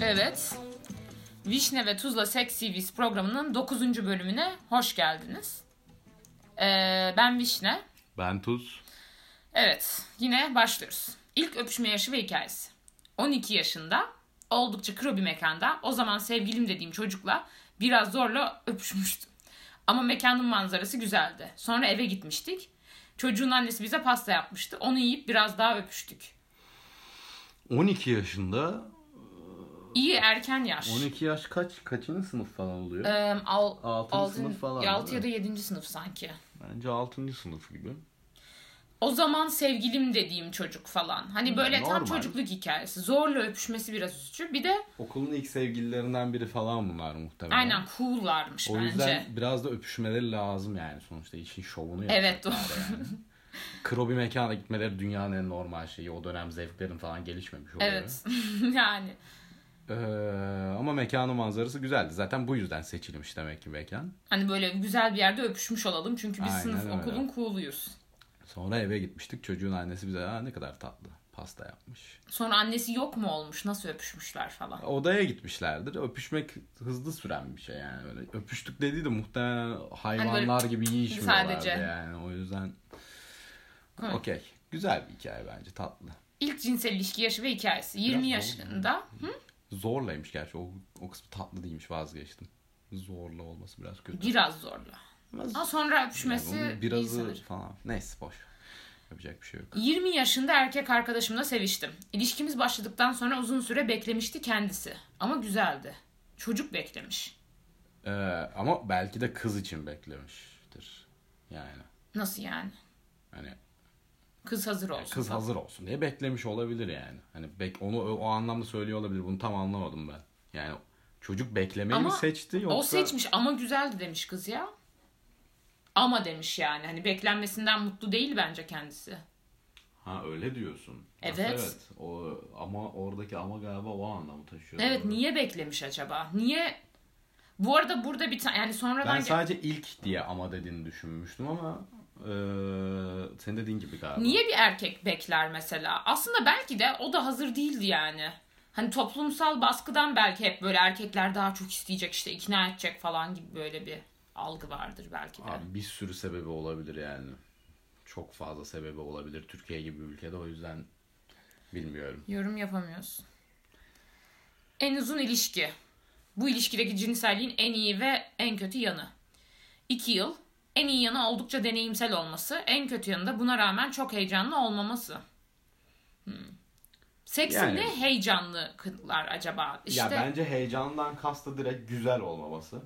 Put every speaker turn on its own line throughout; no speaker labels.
Evet. Vişne ve Tuzla Sexy Vis programının 9. bölümüne hoş geldiniz. Ee, ben Vişne.
Ben Tuz.
Evet, yine başlıyoruz. İlk öpüşme yaşı ve hikayesi. 12 yaşında, oldukça kro bir mekanda, o zaman sevgilim dediğim çocukla biraz zorla öpüşmüştüm. Ama mekanın manzarası güzeldi. Sonra eve gitmiştik. Çocuğun annesi bize pasta yapmıştı. Onu yiyip biraz daha öpüştük.
12 yaşında.
İyi erken yaş.
12 yaş kaç? Kaçıncı sınıf falan oluyor?
Eee, al,
Altıncı
altın-
sınıf falan,
ya altı ya
değil
da 7. sınıf sanki.
Bence 6. sınıf gibi.
O zaman sevgilim dediğim çocuk falan. Hani böyle tam
Hmm, normal.
çocukluk hikayesi. Zorla öpüşmesi biraz üzücü. Bir de
Okulun ilk sevgililerinden biri falan bunlar muhtemelen.
aynen cool'larmış
O
bence.
yüzden biraz da öpüşmeleri lazım yani sonuçta işin şovunu yapacaklar
Evet doğru.
yani. Kro bir mekana gitmeleri dünyanın en normal şeyi. O dönem zevklerin falan gelişmemiş oluyor.
Evet. yani
Ee, ama mekanın manzarası güzeldi. Zaten bu yüzden seçilmiş demek ki mekan.
hani böyle güzel bir yerde öpüşmüş olalım. Çünkü biz
Aynen
sınıf
öyle.
okulun cool'uyuz.
Sonra eve gitmiştik. Çocuğun annesi bize "Aa, ne kadar tatlı pasta yapmış.
Sonra annesi yok mu olmuş? Nasıl öpüşmüşler falan.
odaya gitmişlerdir. Öpüşmek hızlı süren bir şey yani. Böyle öpüştük dedi de muhtemelen hayvanlar
Hani böyle
gibi yiyişmiyorlardı
sadece.
yani. O yüzden
Evet.
okey. Güzel bir hikaye bence tatlı.
İlk cinsel ilişki yaşı ve hikayesi. 20
zor.
yaşında. Hı?
Zorlaymış gerçi o, o kısmı tatlı değilmiş vazgeçtim. Zorla olması biraz kötü.
Biraz zorla.
Ama
Ama sonra
yani
öpüşmesi
onun
iyi
birazı
sanırım.
falan. Neyse boş. Yapacak bir şey yok.
20 yaşında erkek arkadaşımla seviştim. İlişkimiz başladıktan sonra uzun süre beklemişti kendisi. Ama güzeldi. Çocuk beklemiş.
Ee, ama belki de kız için beklemiştir. Yani
Nasıl yani?
hani
Kız hazır olsun.
kız hazır olsun diye beklemiş olabilir yani. Hani bek onu o, o anlamda söylüyor olabilir. Bunu tam anlamadım ben. Yani çocuk beklemeyi
Ama
mi seçti yoksa
O seçmiş ama güzeldi demiş kız ya. Ama demiş yani. Hani beklenmesinden mutlu değil bence kendisi.
Ha öyle diyorsun.
Evet.
Aslında O ama oradaki ama galiba o anlamı taşıyor.
Evet
Doğru.
niye beklemiş acaba? Niye? Bu arada burada bir tane yani sonradan
Ben
ge-
sadece ilk diye ama dediğini düşünmüştüm ama eee senin dediğin gibi galiba.
Niye bir erkek bekler mesela? Aslında belki de o da hazır değildi yani. Hani toplumsal baskıdan belki hep böyle erkekler daha çok isteyecek işte ikna edecek falan gibi böyle bir algı vardır belki de.
Abi bir sürü sebebi olabilir yani. Çok fazla sebebi olabilir Türkiye gibi bir ülkede o yüzden bilmiyorum.
Yorum yapamıyoruz. En uzun ilişki. Bu ilişkideki cinselliğin en iyi ve en kötü yanı. 2 yıl. En iyi yanı oldukça deneyimsel olması. En kötü yanı da buna rağmen çok heyecanlı olmaması. Hmm. Seksinde
Yani-
heyecanlı kızlar acaba? İşte
Ya bence heyecandan kasta direkt güzel olmaması.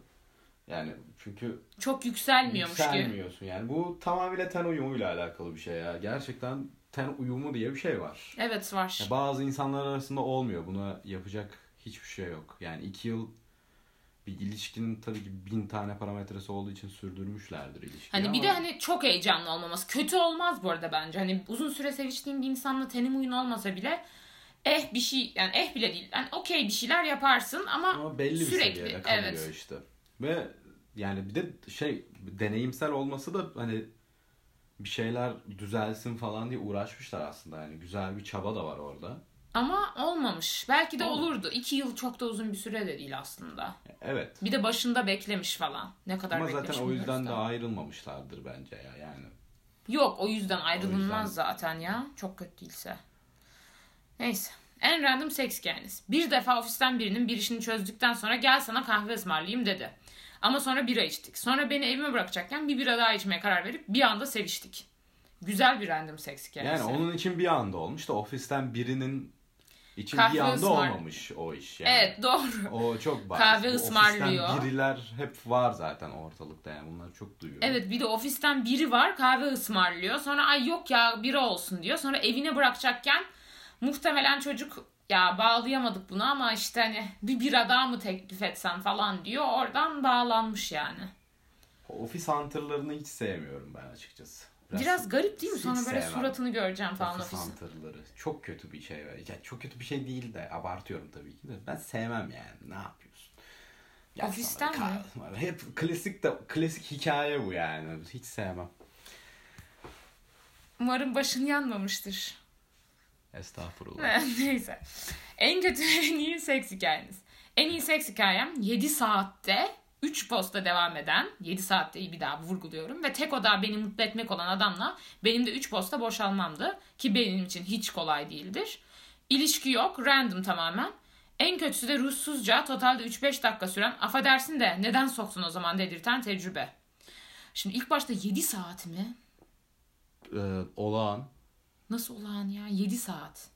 Yani çünkü
çok yükselmiyormuş gibi.
yükselmiyorsun yani. Bu tamamıyla ten uyumuyla alakalı bir şey ya. Gerçekten ten uyumu diye bir şey var.
Evet var.
Ya bazı insanlar arasında olmuyor. Buna yapacak hiçbir şey yok. Yani iki yıl bir ilişkinin tabii ki bin tane parametresi olduğu için sürdürmüşlerdir ilişkiyi
Hani bir
ama
de hani çok heyecanlı olmaması. Kötü olmaz bu arada bence. Hani uzun süre seviştiğin bir insanla tenim uyun olmasa bile eh bir şey yani eh bile değil. Yani okey bir şeyler yaparsın ama,
ama belli bir
sürekli,
seviyede kalıyor
evet.
işte. Ve yani bir de şey deneyimsel olması da hani bir şeyler düzelsin falan diye uğraşmışlar aslında. Yani güzel bir çaba da var orada.
ama olmamış. Belki de
Olmamış.
olurdu. İki yıl çok da uzun bir süre de değil aslında.
Evet.
Bir de başında beklemiş falan. Ne kadar
Ama
beklemiş
zaten o
bilmiyoruz
yüzden de
da.
ayrılmamışlardır bence ya yani.
Yok o yüzden ayrılınmaz
O yüzden-
zaten ya. Çok kötü değilse. Neyse. En random seks hikayeniz. Bir defa ofisten birinin bir işini çözdükten sonra gel sana kahve ısmarlayayım dedi. Ama sonra bira içtik. Sonra beni evime bırakacakken bir bira daha içmeye karar verip bir anda seviştik. Güzel bir random seks
Yani
hikayesi.
onun için bir anda olmuş da ofisten birinin için
Kahve
bir anda
ısmar-
olmamış o iş yani.
Evet doğru.
O çok bariz.
Kahve
Bu
ısmarlıyor.
Ofisten biriler hep var zaten ortalıkta yani bunları çok duyuyorum.
Evet bir de ofisten biri var kahve ısmarlıyor. Sonra ay yok ya bira olsun diyor. Sonra evine bırakacakken muhtemelen çocuk ya bağlayamadık bunu ama işte hani bir bira daha mı teklif etsem falan diyor. Oradan bağlanmış yani.
Ofis hunterlarını hiç sevmiyorum ben açıkçası.
Biraz, garip değil mi?
hiç
Sonra böyle
sevmem.
suratını göreceğim falan
ofis
ofisin.
hunterları. Çok kötü bir şey. var. Ya çok kötü bir şey değil de abartıyorum tabii ki de. Ben sevmem yani. Ne yapıyorsun? Gel
Ofisten
sana
mi?
kahve- Hep klasik de klasik hikaye bu yani. Hiç sevmem.
Umarım başın yanmamıştır.
Estağfurullah.
Neyse. En kötü ve en iyi seks hikayeniz. En iyi seks hikayem 7 saatte 3 posta devam eden 7 saatte iyi bir daha vurguluyorum ve tek oda beni mutlu etmek olan adamla benim de 3 posta boşalmamdı ki benim için hiç kolay değildir. İlişki yok random tamamen. En kötüsü de ruhsuzca totalde 3-5 dakika süren affedersin de neden soktun o zaman dedirten tecrübe. Şimdi ilk başta 7 saat mi?
Ee, olağan.
Nasıl olağan ya 7 saat.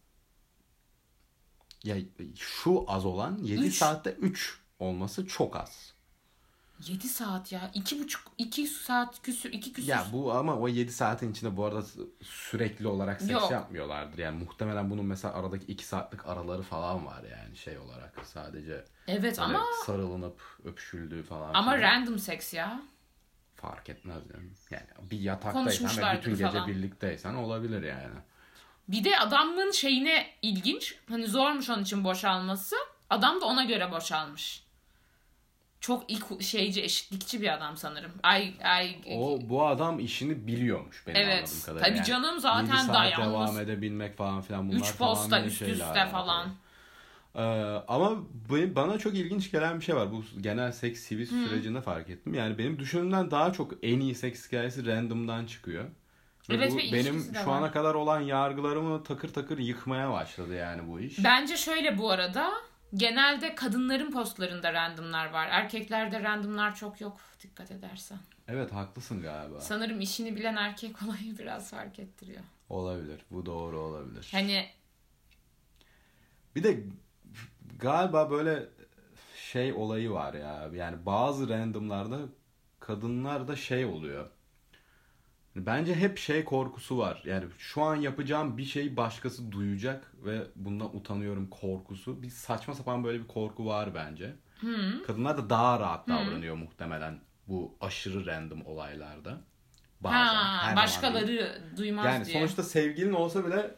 Ya şu az olan 7
Üç.
saatte 3 olması çok az.
7 saat ya. 2,5 2 saat küsür 2 küsür.
Ya bu ama o 7 saatin içinde bu arada sürekli olarak seks
Yok.
yapmıyorlardır. Yani muhtemelen bunun mesela aradaki 2 saatlik araları falan var yani şey olarak sadece
evet
böyle
ama
sarılınıp öpüşüldüğü falan.
ama
filan.
random seks ya.
fark etmez yani. Yani bir yataktaysan ve
Konuşmuşlardır
bütün gece
falan.
birlikteysen olabilir yani.
Bir de adamın şeyine ilginç. Hani zormuş onun için boşalması. Adam da ona göre boşalmış. Çok ilk şeyci eşitlikçi bir adam sanırım. Ay ay
O bu adam işini biliyormuş benim
Evet.
anladığım kadarıyla.
Tabii
Yani
canım zaten
yedi saat
dayanması-
devam edebilmek falan filan bunlar
3 posta
tamamen
üst
şeyler
üste
yani.
falan.
Ee, ama bu- bana çok ilginç gelen bir şey var. Bu genel seks CV sürecinde fark ettim. Yani benim düşündüğümden daha çok en iyi seks hikayesi random'dan çıkıyor. Ve
Evet
bu
ve ilişkisi
benim
de
şu
var.
ana kadar olan yargılarımı takır takır yıkmaya başladı yani bu iş.
Bence şöyle bu arada. Genelde kadınların postlarında randomlar var. Erkeklerde randomlar çok yok dikkat edersen.
Evet haklısın galiba.
Sanırım işini bilen erkek olayı biraz fark ettiriyor.
Olabilir. Bu doğru olabilir.
Hani
Bir de galiba böyle şey olayı var ya. Yani bazı randomlarda kadınlar da şey oluyor. Bence hep şey korkusu var. Yani şu an yapacağım bir şey başkası duyacak ve bundan utanıyorum korkusu. Bir saçma sapan böyle bir korku var bence.
Hmm.
Kadınlar da daha rahat davranıyor muhtemelen bu aşırı random olaylarda. Bazen, her
ha,
zaman değil.
başkaları duymaz
Yani
diye.
sonuçta sevgilin olsa bile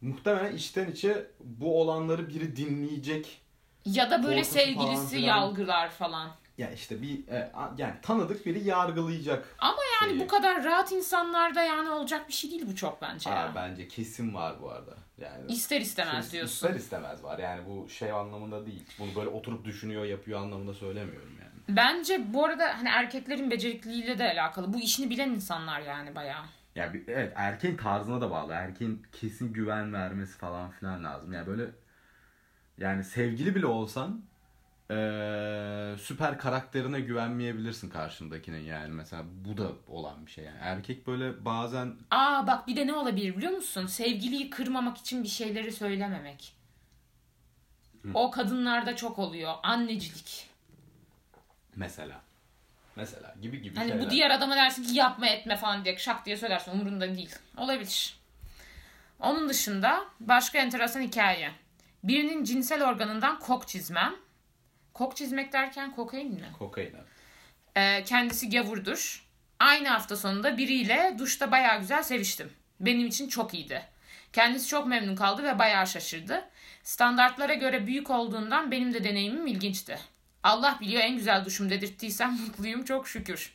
muhtemelen içten içe bu olanları biri dinleyecek.
ya da böyle
korkusu falan
sevgilisi
filan.
yalgılar falan.
Ya işte bir e, a- yani tanıdık biri yargılayacak.
Ama yani
şeyi.
bu kadar rahat insanlarda yani olacak bir şey değil bu çok bence.
Aa,
ya.
bence kesin var bu arada. Yani
İster istemez
Kesin-
diyorsun.
ister istemez var. Yani bu şey anlamında değil. Bunu böyle oturup düşünüyor, yapıyor anlamında söylemiyorum yani.
Bence bu arada hani erkeklerin becerikliliğiyle de alakalı. Bu işini bilen insanlar yani bayağı.
Ya bir, evet erkeğin tarzına da bağlı. Erkeğin kesin güven vermesi falan filan lazım. Yani böyle yani sevgili bile olsan eee, süper karakterine güvenmeyebilirsin karşındakinin yani mesela bu da olan bir şey yani erkek böyle bazen
Aa bak bir de ne olabilir biliyor musun? Sevgiliyi kırmamak için bir şeyleri söylememek. O kadınlarda çok oluyor. Annecilik.
mesela mesela gibi gibi
Hani bu
şeyler.
diğer adama dersin ki yapma etme falan diye şak diye söylersin. Umurunda değil. Olabilir. Onun dışında başka enteresan hikaye. Birinin cinsel organından kok çizmem. Kok çizmek derken kokain mi?
kokain abi.
Ee, kendisi gavurdur. Aynı hafta sonunda biriyle duşta bayağı güzel seviştim. Benim için çok iyiydi. Kendisi çok memnun kaldı ve bayağı şaşırdı. Standartlara göre büyük olduğundan benim de deneyimim ilginçti. Allah biliyor en güzel duşum dedirttiysem mutluyum çok şükür.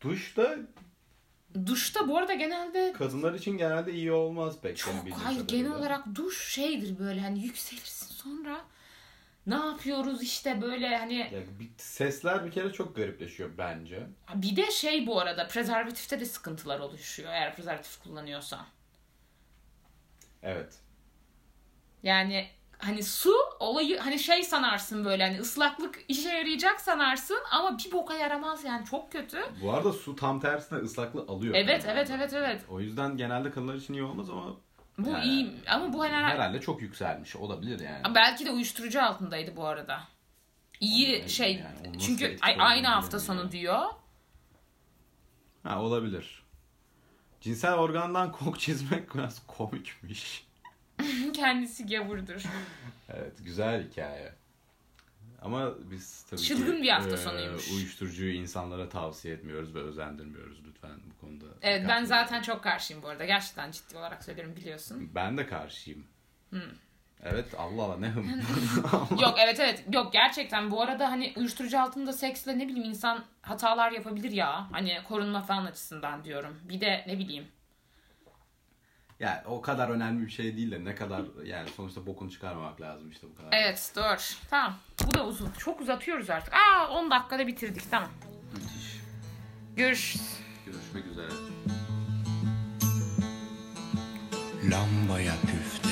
Duşta
Duşta bu arada genelde
kadınlar için genelde iyi olmaz pek.
çok
benim bildiğim
hayır
kadarıyla.
genel olarak duş şeydir böyle hani yükselirsin sonra ne yapıyoruz işte böyle hani
Ya bir- sesler bir kere çok garipleşiyor bence.
bir de şey bu arada prezervatifte de sıkıntılar oluşuyor eğer prezervatif kullanıyorsan.
Evet.
Yani hani su olayı hani şey sanarsın böyle hani ıslaklık işe yarayacak sanarsın ama bir boka yaramaz yani çok kötü.
Bu arada su tam tersine ıslaklı alıyor.
Evet
kadınlarda.
evet evet evet.
O yüzden genelde kadınlar için iyi olmaz ama
Bu
Yani-
iyi ama bu hani
herhalde çok yükselmiş olabilir yani.
belki de uyuşturucu altındaydı bu arada. İyi
Onu
şey
yani, onu nasıl
çünkü
etkili
ay- aynı
olduğunu
hafta sonu diyor.
Ha olabilir. Cinsel organdan kok çizmek biraz komikmiş.
Kendisi gavurdur.
Evet güzel hikaye. Ama biz tabii
Çılgın
ki,
bir hafta
eee,
sonuymuş.
uyuşturucuyu insanlara tavsiye etmiyoruz ve özendirmiyoruz lütfen bu konuda.
Evet ben
dikkatli
zaten çok karşıyım bu arada. Gerçekten ciddi olarak söylüyorum biliyorsun.
olun. Ben de karşıyım. Evet Allah Allah ne hım.
Yok evet evet. Yok gerçekten bu arada hani uyuşturucu altında seksle ne bileyim insan hatalar yapabilir ya. Hani korunma falan açısından diyorum. Bir de ne bileyim.
Yani o kadar önemli bir şey değil de ne kadar yani sonuçta bokunu çıkarmamak lazım işte bu kadar.
Evet doğru. Tamam. Bu da uzun. Çok uzatıyoruz artık. Aa 10 dakikada bitirdik. Tamam.
Müthiş.
Görüşürüz.
Görüşmek üzere.
Lambaya püf